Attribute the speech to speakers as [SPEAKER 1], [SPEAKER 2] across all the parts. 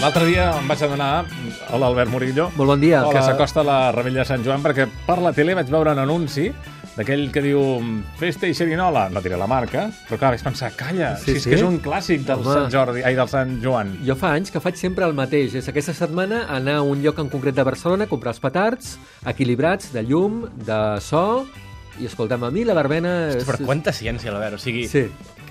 [SPEAKER 1] L'altre dia em vaig adonar, hola Albert Murillo,
[SPEAKER 2] Molt bon dia. Eh,
[SPEAKER 1] que s'acosta a la Revella de Sant Joan, perquè per la tele vaig veure un anunci d'aquell que diu Festa i Xerinola, no diré la marca, però clar, vaig pensar, calla,
[SPEAKER 2] Sí,
[SPEAKER 1] si és
[SPEAKER 2] sí.
[SPEAKER 1] que és un clàssic del
[SPEAKER 2] Home.
[SPEAKER 1] Sant Jordi, ai, del Sant Joan.
[SPEAKER 2] Jo fa anys que faig sempre el mateix. És aquesta setmana anar a un lloc en concret de Barcelona, comprar els petards, equilibrats, de llum, de so... I escolta'm, a mi la verbena... És...
[SPEAKER 3] Però quanta ciència, l'Albert, o sigui...
[SPEAKER 2] Sí.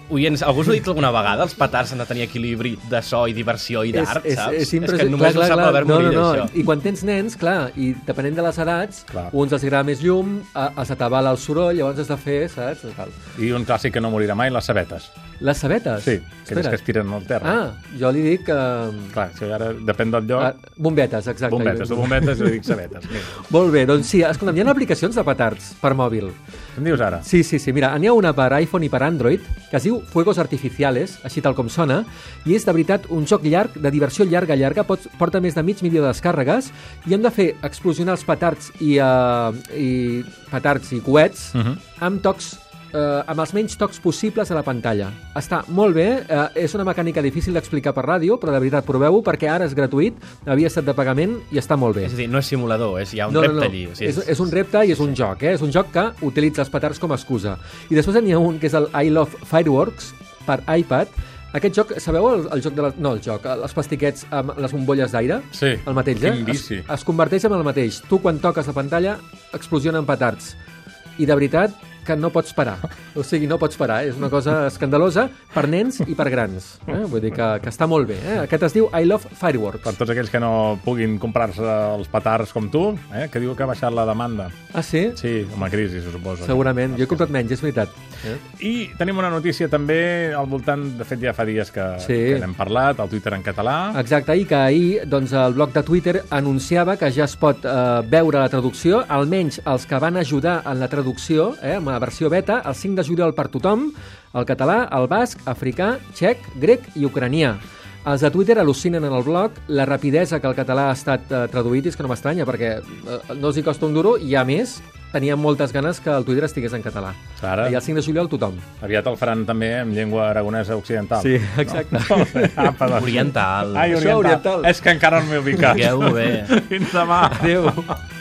[SPEAKER 3] Oients, algú us ho ha dit alguna vegada? Els petards han de tenir equilibri de so i diversió i d'art,
[SPEAKER 2] és,
[SPEAKER 3] saps?
[SPEAKER 2] és, impressionant.
[SPEAKER 3] que només
[SPEAKER 2] clar,
[SPEAKER 3] ho sap
[SPEAKER 2] clar,
[SPEAKER 3] l'Albert
[SPEAKER 2] no,
[SPEAKER 3] Murillo,
[SPEAKER 2] no, no.
[SPEAKER 3] això.
[SPEAKER 2] I quan tens nens, clar, i depenent de les edats,
[SPEAKER 1] Clar.
[SPEAKER 2] uns els agrada més llum, a- els atabala el soroll, llavors has de fer, saps? Tal.
[SPEAKER 1] I un clàssic que no morirà mai, les sabetes.
[SPEAKER 2] Les sabetes?
[SPEAKER 1] Sí, aquelles que es tiren al terra.
[SPEAKER 2] Ah, jo li dic... Eh,
[SPEAKER 1] Clar, això ara depèn del
[SPEAKER 2] ah,
[SPEAKER 1] lloc.
[SPEAKER 2] bombetes, exacte.
[SPEAKER 1] bombetes, tu bombetes, jo dic sabetes. Mira,
[SPEAKER 2] Molt bé, doncs sí, escolta'm, hi ha aplicacions de petards per mòbil.
[SPEAKER 1] què em dius ara?
[SPEAKER 2] Sí, sí, sí, mira, n'hi ha una per iPhone i per Android que es diu Fuegos Artificiales, així tal com sona, i és de veritat un joc llarg, de diversió llarga, llarga, pot, porta més de mig milió de descàrregues, i hem de fer explosionar els petards i, uh, i petards i coets
[SPEAKER 3] Mhm.
[SPEAKER 2] uh -huh. amb tocs eh, amb els menys tocs possibles a la pantalla. Està molt bé, eh, és una mecànica difícil d'explicar per ràdio, però de veritat proveu-ho perquè ara és gratuït, havia estat de pagament i està molt bé
[SPEAKER 3] És a dir, no és simulador, és, hi ha un repte allí. O sigui,
[SPEAKER 2] és, és un repte i és un joc, eh? És un joc que utilitza els petards com a excusa. I després n'hi ha un que és el I Love Fireworks per iPad. Aquest joc, sabeu el, el joc de les... No, el joc, els plastiquets amb les bombolles d'aire?
[SPEAKER 1] Sí,
[SPEAKER 2] El mateix, eh?
[SPEAKER 1] quin vici.
[SPEAKER 2] Es, es converteix en el mateix. Tu, quan toques la pantalla, explosionen petards. I de veritat que no pots parar. O sigui, no pots parar. És una cosa escandalosa per nens i per grans. Eh? Vull dir que, que està molt bé. Eh? Aquest es diu I Love Fireworks.
[SPEAKER 1] Per tots aquells que no puguin comprar-se els petards com tu, eh, que diu que ha baixat la demanda.
[SPEAKER 2] Ah, sí?
[SPEAKER 1] Sí, amb la crisi, se suposa.
[SPEAKER 2] Segurament. Jo he comprat menys, és veritat. Eh?
[SPEAKER 1] I tenim una notícia també al voltant, de fet ja fa dies que,
[SPEAKER 2] Sí.
[SPEAKER 1] sí. que n'hem parlat, al Twitter en català.
[SPEAKER 2] Exacte, i que ahir doncs, el blog de Twitter anunciava que ja es pot eh, veure la traducció, almenys els que van ajudar en la traducció, eh, amb la versió beta, el 5 de juliol per tothom, el català, el basc, africà, txec, grec i ucranià. Els de Twitter al·lucinen en el blog la rapidesa que el català ha estat eh, traduït, i és que no m'estranya, perquè eh, no els hi costa un duro, i a més, tenien moltes ganes que el Twitter estigués en català.
[SPEAKER 1] Ara-
[SPEAKER 2] I el 5 de juliol tothom.
[SPEAKER 1] Aviat el faran també amb llengua aragonesa occidental.
[SPEAKER 2] Sí, exacte.
[SPEAKER 1] No? Apa, doncs.
[SPEAKER 3] Oriental.
[SPEAKER 1] Ai,
[SPEAKER 2] Això
[SPEAKER 1] oriental.
[SPEAKER 2] oriental.
[SPEAKER 1] És que encara no m'he ubicat.
[SPEAKER 3] Digueu-ho bé.
[SPEAKER 1] Fins demà.
[SPEAKER 2] Adéu.